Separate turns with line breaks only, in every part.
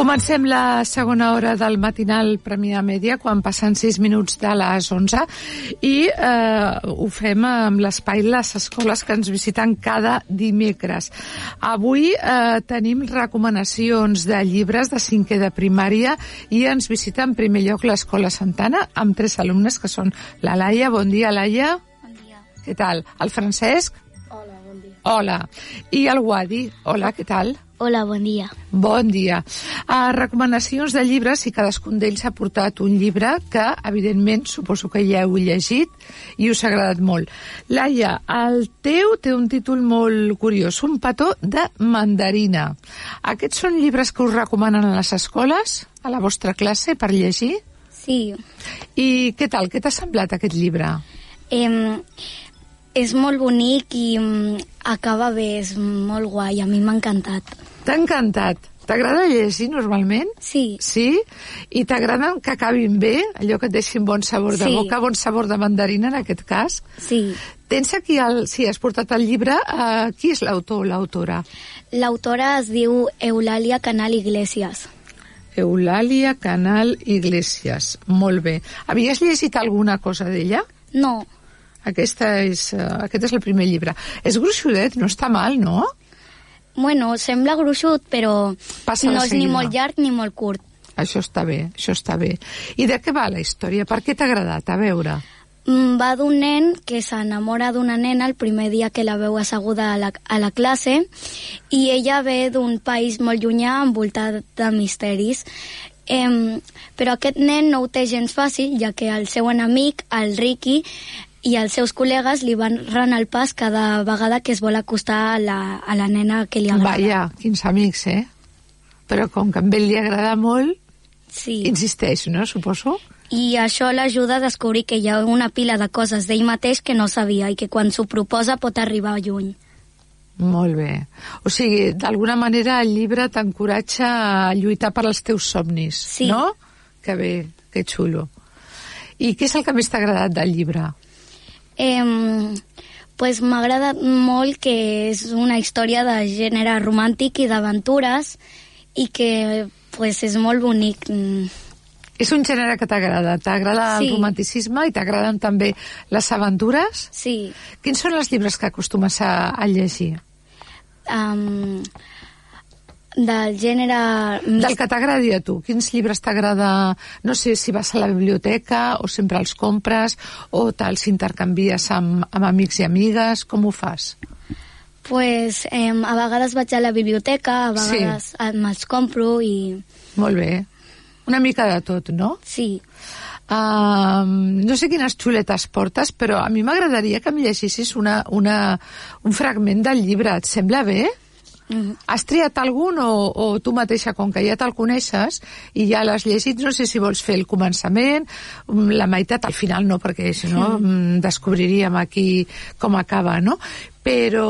Comencem la segona hora del matinal Premià Mèdia quan passen 6 minuts de les 11 i eh, ho fem amb l'espai Les Escoles que ens visiten cada dimecres. Avui eh, tenim recomanacions de llibres de cinquè de primària i ens visita en primer lloc l'Escola Santana amb tres alumnes que són la Laia. Bon dia, Laia.
Bon dia.
Què tal? El Francesc?
Hola, bon dia.
Hola. I el Wadi? Hola, què tal?
Hola, bon dia.
Bon dia. Uh, recomanacions de llibres i cadascun d'ells ha portat un llibre que, evidentment, suposo que ja heu llegit i us ha agradat molt. Laia, el teu té un títol molt curiós, Un petó de mandarina. Aquests són llibres que us recomanen a les escoles, a la vostra classe, per llegir?
Sí,
I què tal? Què t'ha semblat aquest llibre?
em, és molt bonic i em, acaba bé, és molt guai, a mi m'ha encantat.
T'ha encantat. T'agrada llegir normalment?
Sí,
Sí? I t'agraden que acabin bé, allò que et deixin bon sabor de
Sí.
boca, bon sabor de mandarina en aquest cas?
sí.
Tens aquí, el, si has portat el llibre, eh, qui és l'autor o l'autora?
L'autora es diu Eulàlia Canal Iglesias.
Eulàlia Canal Iglesias. Molt bé. Havies llegit alguna cosa d'ella?
No,
Aquesta és, eh, aquest és el primer llibre. És gruixudet, no està mal, no?
bueno, sembla gruixut, però
Passa de
no és ni
seguida.
molt llarg ni molt curt.
Això està bé, això està bé. I de què va la història? Per què t'ha agradat? A veure.
Mm, Va d'un nen que s'enamora d'una nena el primer dia que la veu asseguda a la, a la classe i ella ve d'un país molt llunyà envoltat de misteris. Em, però aquest nen no ho té gens fàcil, ja que el seu enemic, el Ricky, i els seus col·legues li van ran el pas cada vegada que es vol acostar a la, a la nena que li agrada.
Vaja, quins amics, eh? Però com que a ell li agrada molt,
Sí.
insisteix, no? Suposo.
I això l'ajuda a descobrir que hi ha una pila de coses d'ell mateix que no sabia i que quan s'ho proposa pot arribar lluny.
Molt bé. O sigui, d'alguna manera el llibre t'encoratja a lluitar per als teus somnis,
Sí.
no? Que bé, que xulo. I què és el que més t'ha agradat del llibre?
Eh, pues m'ha agradat molt que és una història de gènere romàntic i d'aventures i que pues, és molt bonic. Mm,
És un gènere que t'agrada. T'agrada el
Sí.
romanticisme i t'agraden també les aventures?
Sí.
Quins són els llibres que acostumes a, a llegir?
Um, del gènere...
Del que t'agradi a tu. Quins llibres t'agrada... No sé si vas a la biblioteca o sempre els compres o te'ls intercanvies amb, amb amics i amigues. Com ho fas?
Pues, eh, a vegades vaig a la biblioteca, a
Sí.
vegades sí. me'ls compro i...
Molt bé. Una mica de tot, no?
Sí.
Um, no sé quines xuletes portes, però a mi m'agradaria que em llegissis una, una, un fragment del llibre. Et sembla bé?
Mm,
Has triat algun o, o tu mateixa, com que ja te'l coneixes i ja l'has llegit, no sé si vols fer el començament, mm, la meitat, al final no, perquè si no mm. descobriríem aquí com acaba, no? Però,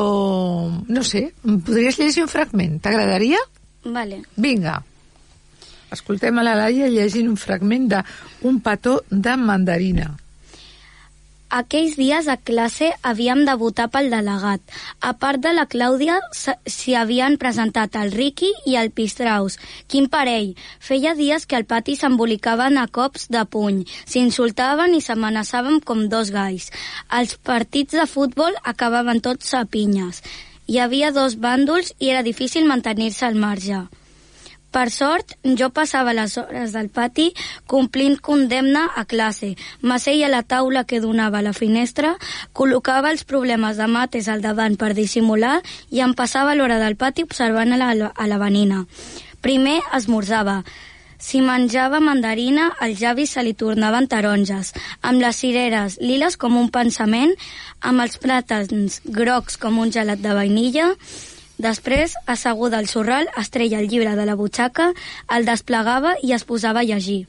no sé, mm, podries llegir un fragment, t'agradaria?
vale.
Vinga. Escoltem a la Laia llegint un fragment de Un petó de mandarina.
Aquells dies a classe havíem de votar pel delegat. A part de la Clàudia, s- s'hi havien presentat el Ricky i el Pistraus. Quin parell! Feia dies que al pati s'embolicaven a cops de puny, s'insultaven i s'amenaçaven com dos gais. Els partits de futbol acabaven tots a pinyes. Hi havia dos bàndols i era difícil mantenir-se al marge. Per sort, jo passava les hores del pati complint condemna a classe. M'asseia a la taula que donava a la finestra, col·locava els problemes de mates al davant per dissimular i em passava l'hora del pati observant a la, a la venina. Primer esmorzava. Si menjava mandarina, als llavis se li tornaven taronges, amb les cireres liles com un pensament, amb els plàtans grocs com un gelat de vainilla, Després, asseguda al sorral, es treia el llibre de la butxaca, el desplegava i es posava a llegir.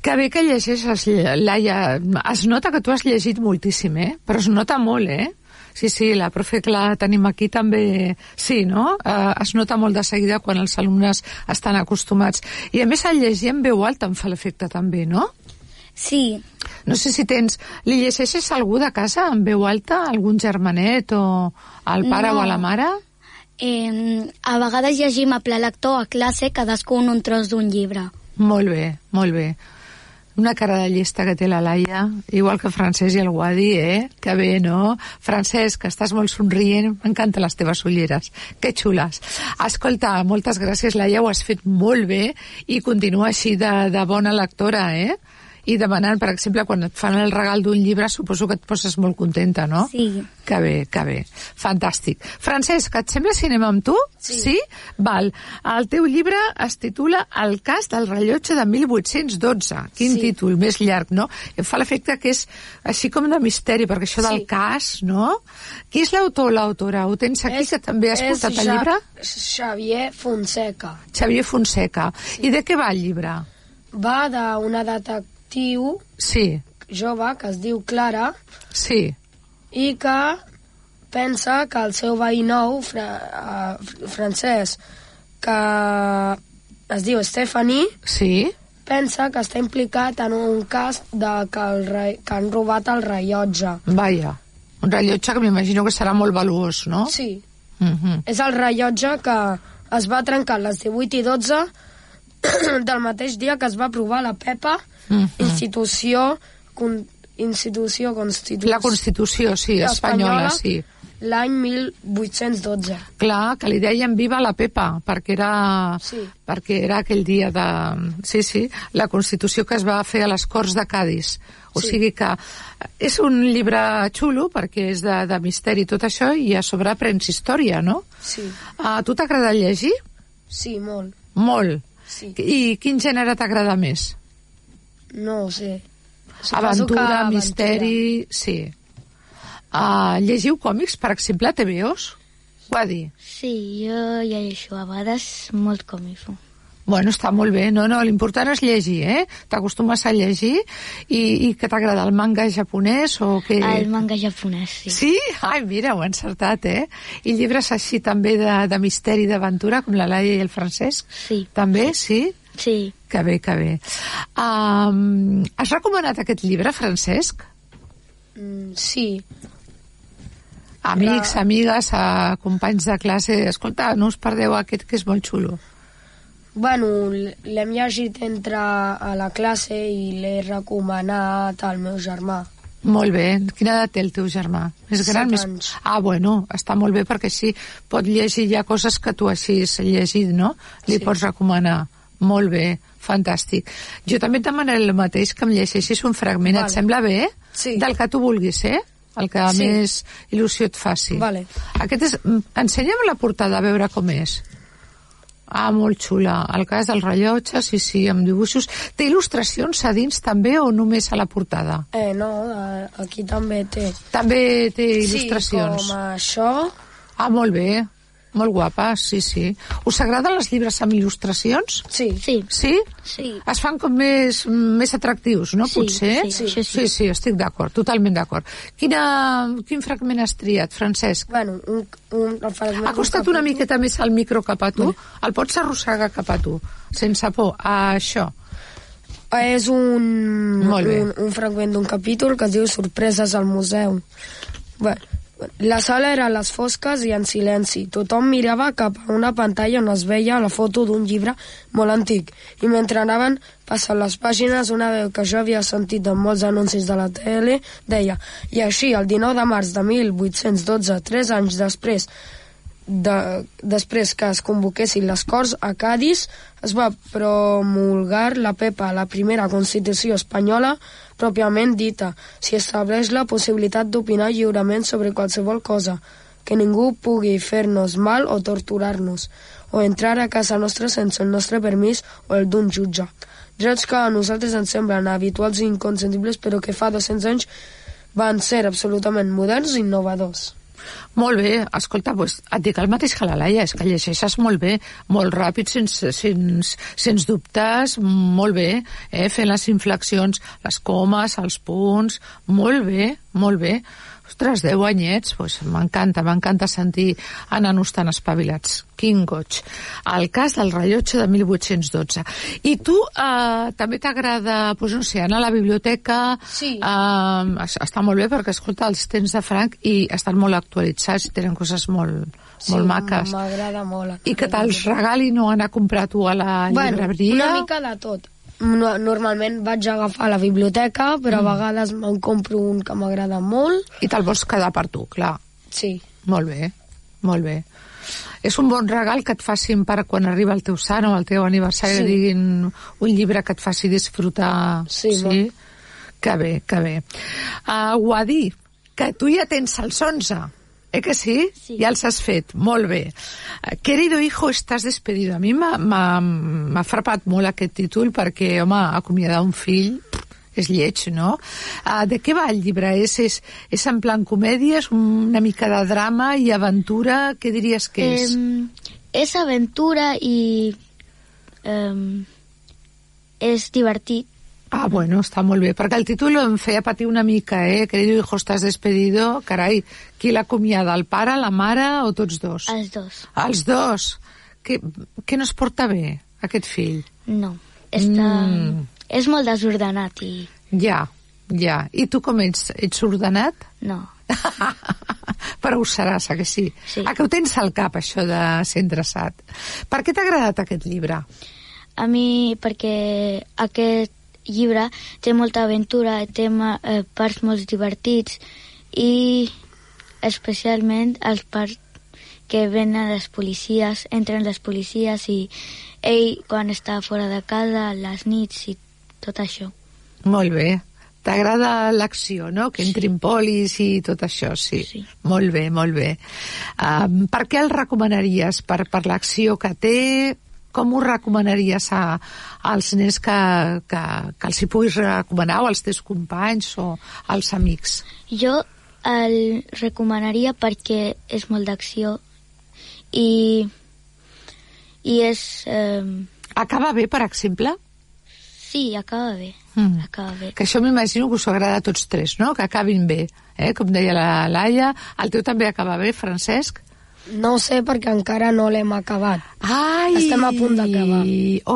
Que bé que llegeixes, Laia. Es nota que tu has llegit moltíssim, eh? Però es nota molt, eh? Sí, sí, la profe que la tenim aquí també... Sí, no? Eh, es nota molt de seguida quan els alumnes estan acostumats. I a més el llegir en veu alta em fa l'efecte també, no?
Sí,
No sé si tens... Li llegeixes a algú de casa en veu alta? Algun germanet o al pare
No.
o a la mare?
eh, a vegades llegim a ple lector a classe cadascun un tros d'un llibre.
Molt bé, molt bé. Una cara de llesta que té la Laia, igual que Francesc i el Guadi, eh? Que bé, no? Francesc, que estàs molt somrient, m'encanten les teves ulleres. Que xules. Escolta, moltes gràcies, Laia, ho has fet molt bé i continua així de, de bona lectora, eh? I demanant, per exemple, quan et fan el regal d'un llibre, suposo que et poses molt contenta, no?
Sí.
Que bé, que bé. Fantàstic. Francesc, et sembla si anem amb tu? Sí. sí? Val. El teu llibre es titula El cas del rellotge de 1812. Quin sí. títol més llarg, no? Em fa l'efecte que és així com de misteri, perquè això sí. del cas, no? Qui és l'autor o l'autora? Ho tens aquí, que també has portat el llibre?
Xavier Fonseca.
Xavier Fonseca. Sí. I de què va el llibre?
Va d'una detectiu
Sí,
jove que es diu Clara
sí,
i que pensa que el seu veí nou, fra eh, fr- francès, que es diu Stephanie,
sí.
pensa que està implicat en un cas de que, el re- que han robat el rellotge.
Vaja. Un rellotge que m'imagino que serà molt valuós, no?
Sí,
Mm -hmm.
és el rellotge que es va trencar a les 18 i 12 del mateix dia que es va aprovar la PEPA,
Mhm.
institució, con, institució constitucional
La Constitució, sí, espanyola, sí.
l'any 1812.
Clar, que li deien viva la Pepa, perquè era, sí.
Sí.
perquè era aquell dia de... Sí, sí, la Constitució que es va fer a les Corts de Cádiz. O sí. sigui que eh, és un llibre xulo, perquè és de, de misteri i tot això, i a sobre aprens història, no?
Sí,
A tu t'agrada llegir?
sí, molt.
Molt.
Sí.
I quin gènere t'agrada més?
No ho sé. Suposo que
Aventura, misteri... Sí. Uh, llegiu còmics, per exemple, TVOs? Ho ha dit.
Sí, jo llegeixo a vegades molt còmic.
Bueno, està molt bé. No, no, l'important és llegir, eh? T'acostumes a llegir i, i que t'agrada el manga japonès o que...
manga japonès,
Sí? Ai, mira, ho he encertat, eh? I llibres així també de, de misteri i d'aventura, com la Laia i el Francesc?
Sí.
També, sí?
sí.
Que bé, que bé. Um, has recomanat aquest llibre, Francesc?
Mm, sí,
Amics, amigues, a companys de classe... Escolta, no us perdeu aquest, que és molt xulo.
Bueno, l- l'hem llegit entre a la classe i l'he recomanat al meu germà.
Molt bé. Quina edat té el teu germà? Més
Set
gran? Més...
anys.
Ah, bueno, està molt bé perquè així pot llegir ja coses que tu així has llegit, no? Li sí. pots recomanar. Molt bé, fantàstic. Jo també et demanaré el mateix, que em llegeixis un fragment.
Vale.
Et sembla bé?
Sí.
Del que tu vulguis, eh? El que sí.
Sí.
més il·lusió et faci.
Vale.
Aquest és... mm, Ensenya'm la portada a veure com és. Ah, molt xula. El cas del rellotge, sí, sí, amb dibuixos. Té il·lustracions a dins també o només a la portada?
Eh, no, eh, aquí també té.
També té
Sí,
il·lustracions.
com això.
ah, molt bé. Molt guapa, sí, sí. Us agraden els llibres amb il·lustracions?
Sí.
Sí,
Sí?
sí.
Es fan com més, més atractius, no?
Sí,
Potser?
sí, això sí.
sí, sí estic d'acord, totalment d'acord. Quina, quin fragment has triat, Francesc?
Bueno, un, un, el fragment...
Acosta't una miqueta més al micro cap a tu. El pots arrossegar cap a tu, sense por. A això.
és un,
Molt bé.
un, un fragment d'un capítol que es diu Sorpreses al museu. Bé, la sala era a les fosques i en silenci. Tothom mirava cap a una pantalla on es veia la foto d'un llibre molt antic i mentre anaven passant les pàgines una veu que jo havia sentit en molts anuncis de la tele deia i així el 19 de març de 1812, tres anys després de, després que es convoquessin les Corts a Cádiz, es va promulgar la PEPA, la primera Constitució espanyola pròpiament dita. S'hi estableix la possibilitat d'opinar lliurement sobre qualsevol cosa, que ningú pugui fer-nos mal o torturar-nos, o entrar a casa nostra sense el nostre permís o el d'un jutge. Drets que a nosaltres ens semblen habituals i inconsensibles, però que fa 200 anys van ser absolutament moderns i innovadors.
Molt bé, escolta, doncs et dic el mateix que la Laia, és que llegeixes molt bé, molt ràpid, sense, sense, sense dubtes, molt bé, eh? fent les inflexions, les comes, els punts, molt bé, molt bé. Ostres, 10 anyets, doncs m'encanta, m'encanta sentir a nanos tan espavilats. Quin goig. El cas del rellotge de 1812. I tu eh, també t'agrada, doncs, no sé, anar a la biblioteca,
Sí.
Um, està molt bé perquè, escolta, els temps de Frank i estan molt actualitzats i tenen coses molt, molt maques.
M'agrada molt.
I que te'ls regalin o anar a comprar tu a la
bueno,
llibreria.
una mica de tot. No, normalment vaig agafar a la biblioteca, però
Mm.
a vegades me'n compro un que m'agrada molt.
I te'l vols quedar per tu, clar.
Sí.
Molt bé, molt bé. És un bon regal que et facin per quan arriba el teu sant o el teu aniversari,
Sí.
sí. diguin un llibre que et faci disfrutar.
Sí,
sí? Que bé, que bé. Uh, Guadí, que tu ja tens els 11, eh que sí?
Sí.
Ja els has fet, molt bé. Eh, Querido hijo, estàs despedido. A mi m'ha- m'ha m'ha frapat molt aquest títol perquè, home, acomiadar un fill és lleig, no? Uh, de què va el llibre? És, és, és en plan comèdia, és una mica de drama i aventura? Què diries que és?
Em, és aventura i em, és divertit.
Ah, bueno, està molt bé, perquè el títol em feia patir una mica, eh? Querido hijo, estàs despedido. Carai, qui l'acomiada, el pare, la mare o tots dos?
Els dos.
Els dos. Que, que no es porta bé, aquest fill?
No. Està...
Mm.
És molt desordenat i...
Ja, ja. I tu com ets? Ets ordenat?
No.
Però ho seràs, a que sí?
Sí.
A que ho tens al cap, això de ser endreçat? Per què t'ha agradat aquest llibre?
A mi, perquè aquest llibre té molta aventura, té ma- eh, parts molt divertits i especialment els parts que venen les policies, entren les policies i ell quan està fora de casa, les nits i tot això.
Molt bé. T'agrada l'acció, no? Que entrin polis i tot això, sí.
Sí.
Molt bé, molt bé. Um, per què el recomanaries? Per, per l'acció que té? Com ho recomanaries a, als nens que, que, que els hi puguis recomanar o als teus companys o als amics?
Jo el recomanaria perquè és molt d'acció i, i és... Eh,
Acaba bé, per exemple?
sí, acaba bé.
Mm.
Acaba bé.
Que això m'imagino que us agrada a tots tres, no? Que acabin bé, eh? Com deia la Laia. El teu també acaba bé, Francesc?
No ho sé perquè encara no l'hem acabat.
Ai!
Estem a punt d'acabar.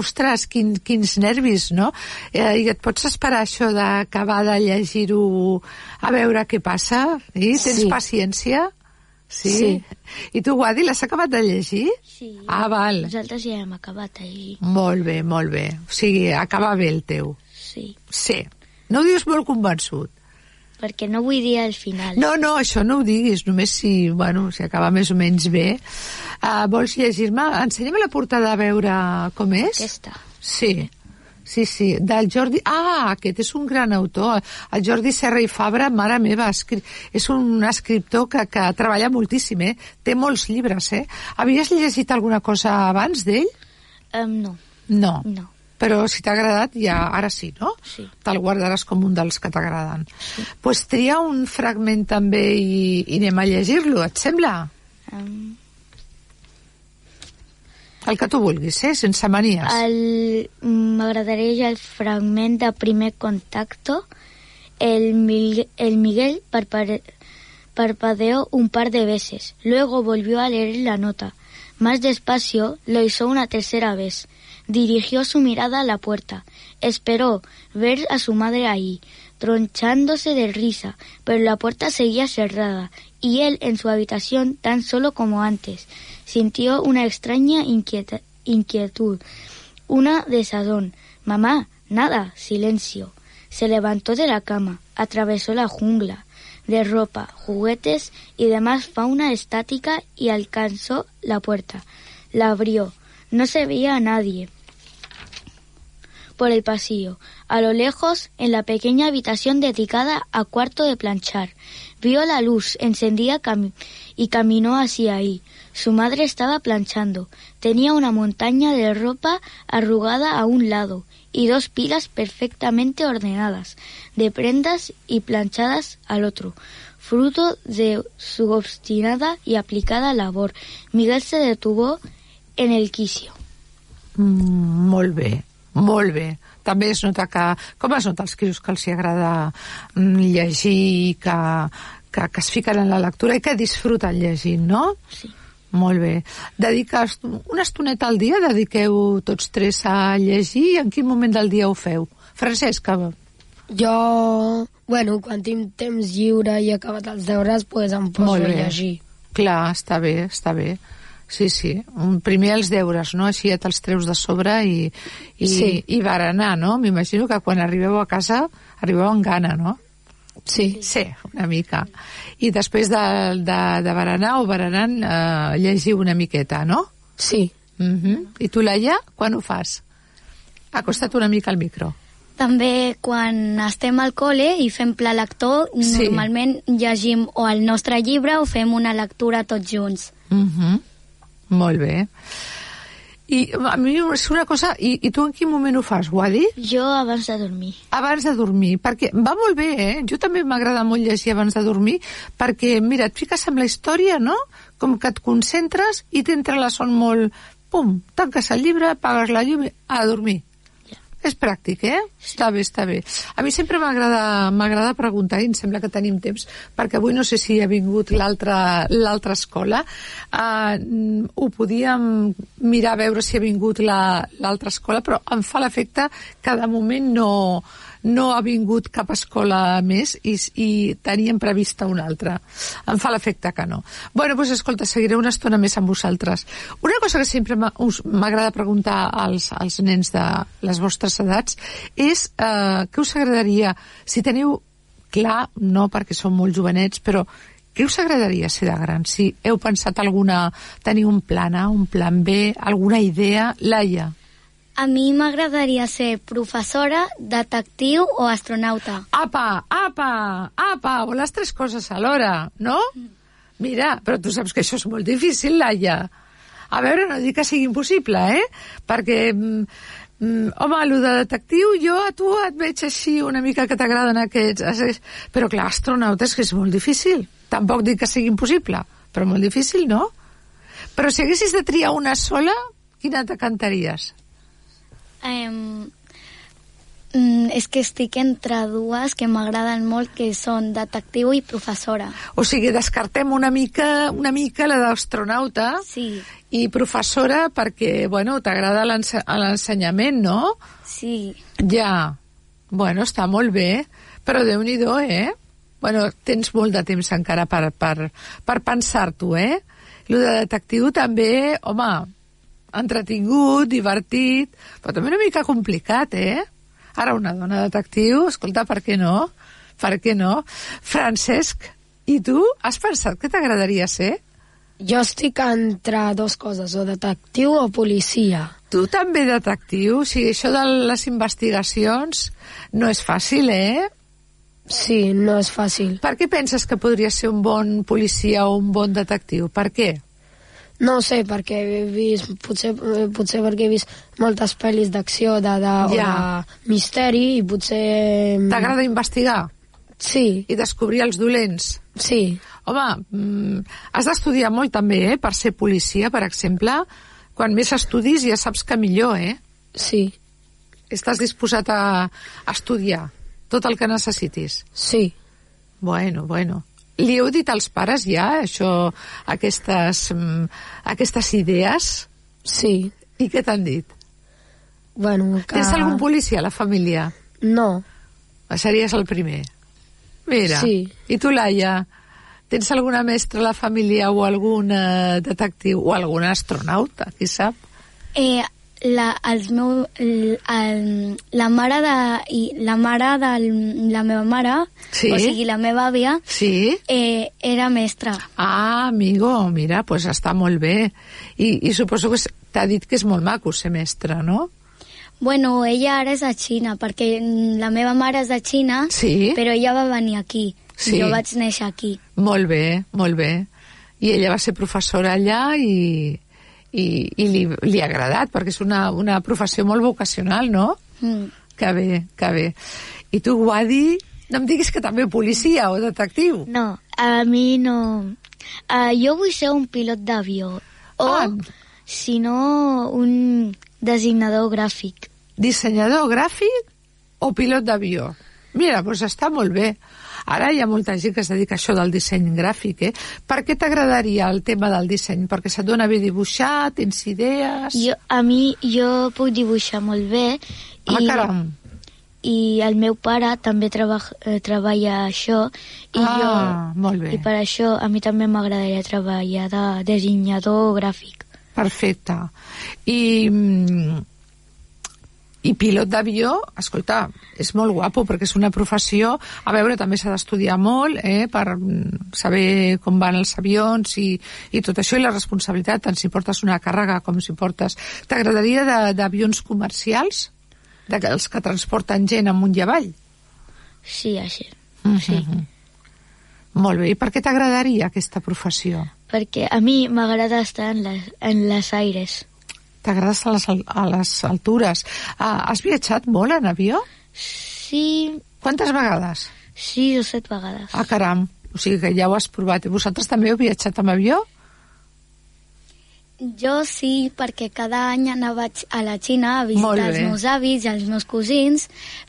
Ostres, quin, quins nervis, no? Eh, I et pots esperar això d'acabar de llegir-ho a veure què passa? I tens
Sí.
paciència? Sí.
Sí.
I tu, Guadi, l'has acabat de llegir?
Sí.
Ah, val.
Nosaltres ja hem acabat ahir,
Molt bé, molt bé. O sigui, acaba bé el teu.
sí.
Sí. No ho dius molt convençut.
Perquè no vull dir al final.
No, no, això no ho diguis, només si, bueno, si acaba més o menys bé. Uh, vols llegir-me? Ensenya'm la portada a veure com és.
Aquesta.
Sí, sí, sí, del Jordi... Ah, aquest és un gran autor, el Jordi Serra i Fabra, mare meva, escri... és un escriptor que, que treballa moltíssim, eh? Té molts llibres, eh? Havies llegit alguna cosa abans d'ell?
Um, no,
No.
no.
Però si t'ha agradat, ja ara sí, no?
Sí.
Te'l guardaràs com un dels que t'agraden. Sí. Pues tria un fragment també i, i anem a llegir-lo, et sembla?
Um,
El que tu vulguis, eh? Sense manies.
el-
mm,
M'agradaria ja el fragment de primer contacto. El, Mil- el Miguel parpare- parpadeó un par de veces. Luego volvió a leer la nota.
Más despacio lo hizo una tercera vez. Dirigió su mirada a la puerta. Esperó ver a su madre ahí, tronchándose de risa, pero la puerta seguía cerrada y él en su habitación tan solo como antes. Sintió una extraña inquieta- inquietud, una desazón. Mamá, nada, silencio. Se levantó de la cama, atravesó la jungla de ropa, juguetes y demás fauna estática y alcanzó la puerta. La abrió. No se veía a nadie por el pasillo. A lo lejos, en la pequeña habitación dedicada a cuarto de planchar, vio la luz encendida cami- y caminó hacia ahí. Su madre estaba planchando. Tenía una montaña de ropa arrugada a un lado y dos pilas perfectamente ordenadas de prendas y planchadas al otro. Fruto de su obstinada y aplicada labor, Miguel se detuvo en el quicio.
Mm, molt bé, molt bé. També es nota que... Com es nota els crios que els hi agrada mm, llegir i que, que, que es fiquen en la lectura i que disfruten llegint, no?
Sí.
Molt bé. Dediques una estoneta al dia, dediqueu tots tres a llegir i en quin moment del dia ho feu? Francesca,
Jo, bueno, quan tinc temps lliure i he acabat els deures, pues em poso a llegir.
Clar, està bé, està bé. Sí, sí. Un- Primer els deures, no? Així ja te'ls treus de sobre i, i, sí.
Sí.
i berenar, no? M'imagino que quan arribeu a casa arribeu amb gana, no?
Sí.
Sí, una mica. I després de, de, de berenar o berenant eh, llegiu una miqueta, no?
Sí.
Mm I tu, Laia, quan ho fas? Acosta't una mica al micro.
També quan estem al col·le i fem pla lector,
Sí.
normalment llegim o el nostre llibre o fem una lectura tots junts.
Mm Molt bé. I a mi és una cosa... I, I tu en quin moment ho fas, Wadi?
Yo abans de dormir.
abans de dormir, perquè va molt bé, eh? Jo també m'agrada molt llegir abans de dormir, perquè, mira, et fiques amb la història, no? Com que et concentres i t'entra la son molt... Pum, tanques el llibre, apagues la llum i a dormir. És pràctic, eh? Està bé, està bé. A mi sempre m'agrada m'agrada preguntar i em sembla que tenim temps perquè avui no sé si ha vingut l'altra l'altra escola. Uh, ho podíem mirar a veure si ha vingut la- l'altra la, escola, però em fa l'efecte que de moment no, no ha vingut cap escola més i, i teníem prevista una altra. Em fa l'efecte que no. bueno, doncs escolta, seguiré una estona més amb vosaltres. Una cosa que sempre m'ha- us- m'agrada preguntar als, als nens de les vostres edats és eh, què us agradaria, si teniu clar, no perquè són molt jovenets, però què us agradaria ser de gran? Si heu pensat alguna... Teniu un plan A, un plan B, alguna idea? Laia.
A mi m'agradaria ser professora, detectiu o astronauta.
Apa, apa, apa, o les tres coses alhora, no? Mira, però tu saps que això és molt difícil, Laia. A veure, no dic que sigui impossible, eh? Perquè, mm, mm, home, allò de detectiu, jo a tu et veig així una mica que t'agraden aquests... es- Però clar, astronauta és que és molt difícil. Tampoc dic que sigui impossible, però molt difícil, no? Però si haguessis de triar una sola, quina te cantaries?
Em, mm, és que estic entre dues que m'agraden molt, que són detectiu i professora.
O sigui, descartem una mica, una mica la d'astronauta
Ah.
Sí,
i professora perquè, bueno, t'agrada l'ense- l'ensenyament, no?
sí.
Ja. Bueno, està molt bé, però déu nhi eh? Bueno, tens molt de temps encara per, per, per pensar-t'ho, eh? Lo de detectiu també, home, entretingut, divertit, però també una mica complicat, eh? Ara una dona detectiu, escolta, per què no? Per què no? Francesc, i tu has pensat que t'agradaria ser?
Jo estic entre dues coses, o detectiu o policia.
Tu també detectiu? O sigui, això de les investigacions no és fàcil, eh?
Sí, no és fàcil.
Per què penses que podria ser un bon policia o un bon detectiu? Per què?
No ho sé, perquè he vist, potser, eh, potser perquè he vist moltes pel·lis d'acció de, de,
Ja.
o de misteri i potser... mm,
T'agrada investigar
Sí,
i descobrir els dolents?
sí.
Home, mm, has d'estudiar molt també, eh? Per ser policia, per exemple. Quan més estudis ja saps que millor, eh?
Sí,
Estàs disposat a, a estudiar tot el que necessitis.
sí.
Bueno, bueno. Li heu dit als pares ja, això, aquestes, mm, aquestes idees?
Sí.
I què t'han dit?
Bueno, que...
Tens algun policia a la família? Ah,
No.
Series el primer. Mira.
Sí.
I tu, Laia, tens alguna mestra a la família o algun eh, detectiu o algun astronauta, qui sap?
Eh, la, els meu, l- el, la mare de, i la mare de la meva mare,
Sí.
o sigui, la meva àvia,
Sí?
eh, era mestra.
Ah, amigo, mira, pues està molt bé. I, i suposo que s- t'ha dit que és molt maco ser mestre, no?
Bueno, ella ara és de Xina, perquè mm, la meva mare és de Xina,
Sí.
però ella va venir aquí.
Sí.
Jo vaig néixer aquí.
Molt bé, molt bé. I ella va ser professora allà i, i, i li, li ha agradat, perquè és una, una professió molt vocacional, no?
Mm.
Que bé, que bé. I tu, Guadi, no em diguis que també policia o detectiu.
No, a mi no. Ah, jo vull ser un pilot d'avió. O,
Ah.
si no, un designador gràfic.
dissenyador gràfic o pilot d'avió. Mira, doncs està molt bé. Ara hi ha molta gent que es dedica a això del disseny gràfic, eh? Per què t'agradaria el tema del disseny? Perquè se't dona bé dibuixar, tens idees...
Jo, a mi, jo puc dibuixar molt bé.
Ah, caram!
I el meu pare també treball, eh, treballa això. I
Ah,
jo,
molt bé.
I per això a mi també m'agradaria treballar de designador gràfic.
Perfecte. I, mm, i pilot d'avió, escolta, és molt guapo perquè és una professió... A veure, també s'ha d'estudiar molt eh, per mm, saber com van els avions i, i tot això, i la responsabilitat, tant si portes una càrrega com si portes... T'agradaria de- d'avions comercials? De, els que transporten gent amunt i avall?
Sí, així. Sí.
Mhm. Molt bé. I per què t'agradaria aquesta professió?
Perquè a mi m'agrada estar en les, en les aires.
T'agrades a, les al- a les altures. Ah, has viatjat molt en avió?
Sí,
Quantes vegades?
sis o set vegades.
Ah, caram, o sigui que ja ho has provat. I vosaltres també heu viatjat amb avió?
Jo sí, perquè cada any anava a X- a la Xina a
Molt
visitar
bé.
els meus avis i els meus cosins,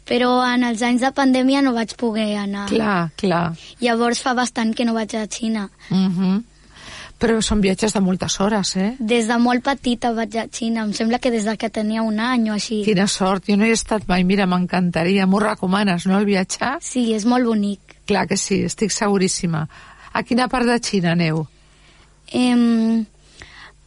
però en els anys de pandèmia no vaig poder anar.
Clar, clar.
Llavors fa bastant que no vaig a la Xina.
Uh -huh. Però són viatges de moltes hores, eh?
Des de molt petita vaig a Xina, em sembla que des de que tenia un any o així.
Quina sort, jo no hi he estat mai, mira, m'encantaria. M'ho recomanes, no, el viatjar?
Sí, és molt bonic.
Clar que sí, estic seguríssima. A quina part de Xina aneu?
Em...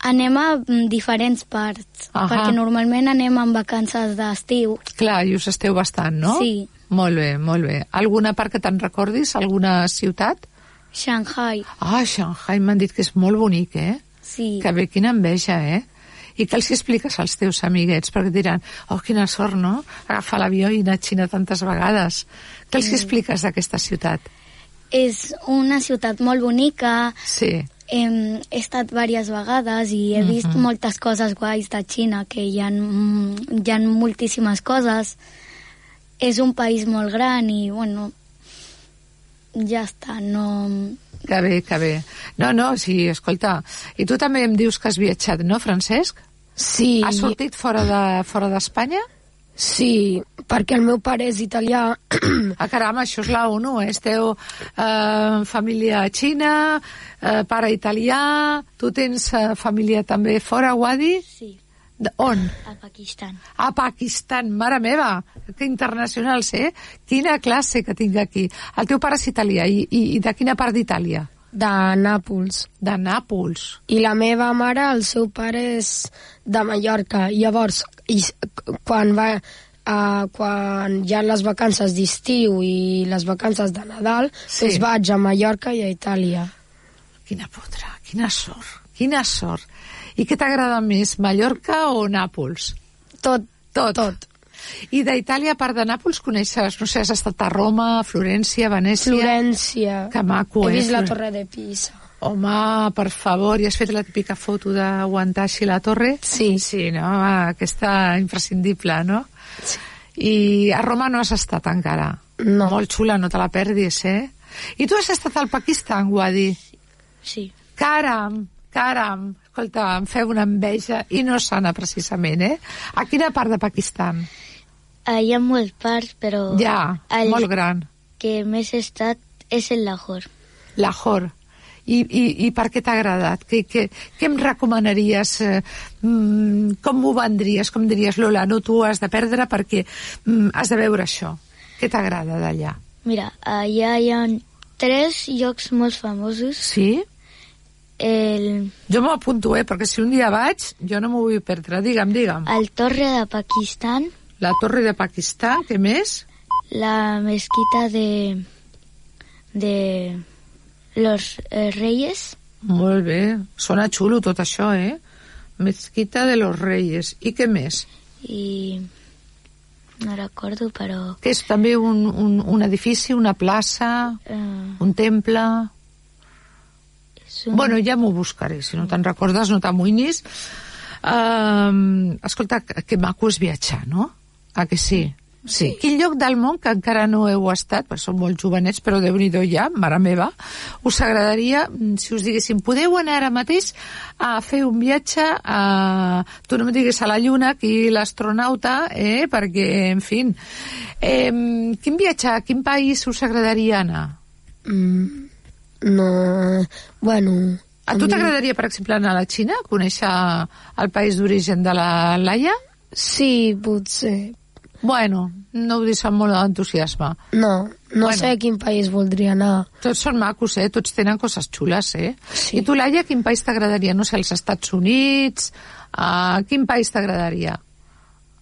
Anem a mm, diferents parts,
Ahà.
perquè normalment anem en vacances d'estiu.
Clar, i us esteu bastant, no?
Sí.
Molt bé, molt bé. Alguna part que te'n recordis? Alguna ciutat?
Shanghai,
Ah, Shanghai m'han dit que és molt bonic, eh?
sí.
Que bé, quina enveja, eh? I que els hi expliques als teus amiguets, perquè et diran, oh, quina sort, no? Agafar l'avió i anar a Xina tantes vegades. Què els hi expliques d'aquesta ciutat?
És una ciutat molt bonica,
Sí.
Hem, he estat diverses vegades i he vist moltes coses guais de Xina, que hi ha, mm, hi ha moltíssimes coses. És un país molt gran i, bueno, ja està, no...
Que bé, que bé. No, no, sí, escolta, i tu també em dius que has viatjat, no, Francesc?
Sí,
Has sortit fora de fora d'Espanya?
sí, perquè el meu pare és italià.
Ah, caram, això és la ONU, eh? Esteu eh, família xina, eh, pare italià, tu tens eh, família també fora, Wadi?
Sí,
De, on?
a Pakistan.
a Pakistan, mare meva, que internacionals, eh? Quina classe que tinc aquí. El teu pare és italià, i, i, i de quina part d'Itàlia?
de Nàpols.
De Nàpols.
I la meva mare, el seu pare és de Mallorca. Llavors, i, s- quan va... Uh, quan hi ha les vacances d'estiu i les vacances de Nadal,
Sí.
sí. doncs vaig a Mallorca i a Itàlia.
Quina putra, quina sort, quina sort. I què t'agrada més, Mallorca o Nàpols?
Tot,
Tot.
Tot.
I d'Itàlia, a part de Nàpols, coneixes, no sé, has estat a Roma, a Florència, a Venècia...
Florència.
Que maco,
He
eh,
vist la
Flor-
torre de Pisa.
Home, per favor, i has fet la típica foto d'aguantar així la torre?
Sí.
Sí, no? Aquesta imprescindible, no? Sí. I a Roma no has estat encara?
No.
Molt xula, no te la perdis, eh? I tu has estat al Pakistan, Wadi?
Sí.
Caram, caram. Escolta, em feu una enveja, i no sana precisament, eh? A quina part de Pakistan?
Ah, hi ha molts parts, però...
Ja,
el
molt gran.
que més he estat és el Lahore.
Lahore. I, i, i per què t'ha agradat? Què, què, què em recomanaries? Eh, mm, com ho vendries? Com diries, Lola, no t'ho has de perdre perquè mm, has de veure això. Què t'agrada d'allà?
Mira, allà hi ha tres llocs molt famosos.
Sí?
El,
Jo m'apunto, eh, perquè si un dia vaig, jo no m'ho vull perdre. Digue'm, digue'm.
el Torre de Pakistan,
La Torre de Pakistan, què més?
la mezquita de, de los eh, reyes,
Molt bé. Sona xulo tot això, eh? Mezquita de los Reyes. I què més?
i no recordo, però...
Que és també un, un, un edifici, una plaça,
Eh,
un temple...
és un...
Bueno, ja m'ho buscaré, si no te'n recordes no t'amoïnis. Um, escolta, que que maco és viatjar, no? Ah, que sí? Sí. Quin lloc del món que encara no heu estat, perquè som molt jovenets, però déu nhi ja, mare meva, us agradaria, mm, si us diguéssim, podeu anar ara mateix a fer un viatge a... Tu no em diguis a la Lluna, aquí l'astronauta, eh? perquè, en fi... Eh, quin viatge, a quin país us agradaria anar?
Mm, no... Bueno...
A tu t'agradaria, per exemple, anar a la Xina, conèixer el país d'origen de la Laia?
Sí, potser.
Bueno, no ho dius amb molt d'entusiasme.
No, no
Bueno.
sé a quin país voldria anar.
Tots són macos, eh? Tots tenen coses xules, eh? Sí. I tu, Laia, quin país t'agradaria? No sé, els Estats Units... Uh, quin país t'agradaria?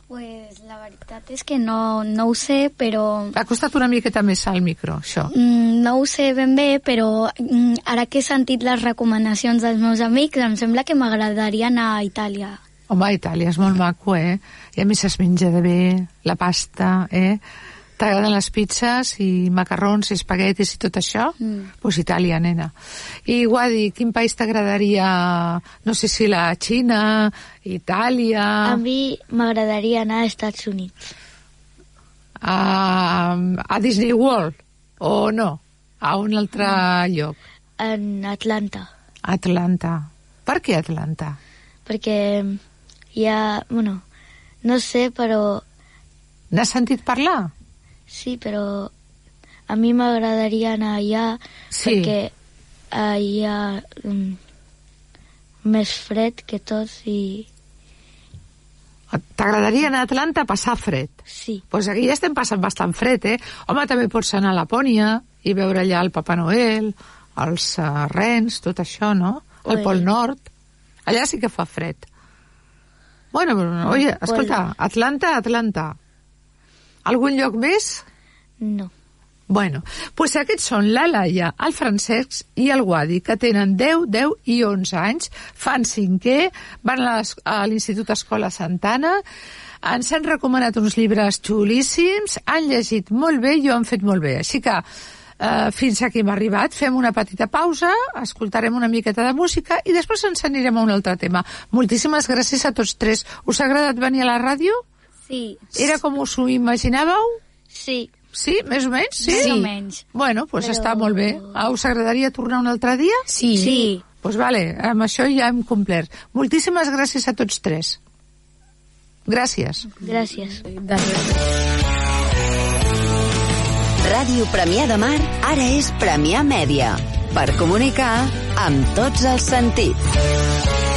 Pues la veritat és que no, no ho sé, però...
Ha costat una miqueta més al micro, això.
Mm, No ho sé ben bé, però mm, ara que he sentit les recomanacions dels meus amics, em sembla que m'agradaria anar a Itàlia.
Home, Itàlia és molt maco, eh? I a més es menja de bé, la pasta, eh? T'agraden les pizzas i macarrons i espaguetis i tot això? Doncs pues Itàlia, nena. I Guadi, quin país t'agradaria? No sé si la Xina, Itàlia...
A mi m'agradaria anar als Estats Units.
A, a Disney World, o no? A un altre lloc.
en Atlanta,
Atlanta. Per què Atlanta?
perquè hi ha, bueno, no sé, però
N'has sentit parlar?
sí, però a mi m'agradaria anar allà
Sí.
perquè eh, hi ha mm, més fred que tots i
T'agradaria anar a Atlanta a passar fred?
sí,
pues aquí ja estem passant bastant fred, eh? Home, també pots anar a Lapònia i veure allà el Papa Noel, els uh, rens, tot això, no? El
Ui.
Pol Nord. Allà sí que fa fred. Bueno, però, no, oye,
Pol-
escolta, Atlanta, Atlanta. Algun lloc més?
no.
Bueno, pues aquests són la Laia, el Francesc i el Guadi, que tenen 10, 10 i 11 anys, fan cinquè, van a l'es- a l'Institut Escola Santana, ens han recomanat uns llibres xulíssims, han llegit molt bé i ho han fet molt bé. Així que eh, fins aquí hem arribat, fem una petita pausa, escoltarem una miqueta de música i després ens anirem a un altre tema. Moltíssimes gràcies a tots tres. Us ha agradat venir a la ràdio?
Sí,
Era com us ho imaginàveu?
Sí,
Sí, més o menys, sí?
Més o menys.
Bueno, doncs pues està molt bé. Ah, us agradaria tornar un altre dia?
Sí.
sí.
Doncs pues vale, amb això ja hem complert. Moltíssimes gràcies a tots tres. Gràcies.
gràcies.
Ràdio Premià de Mar ara és Premià Mèdia. Per comunicar amb tots els sentits.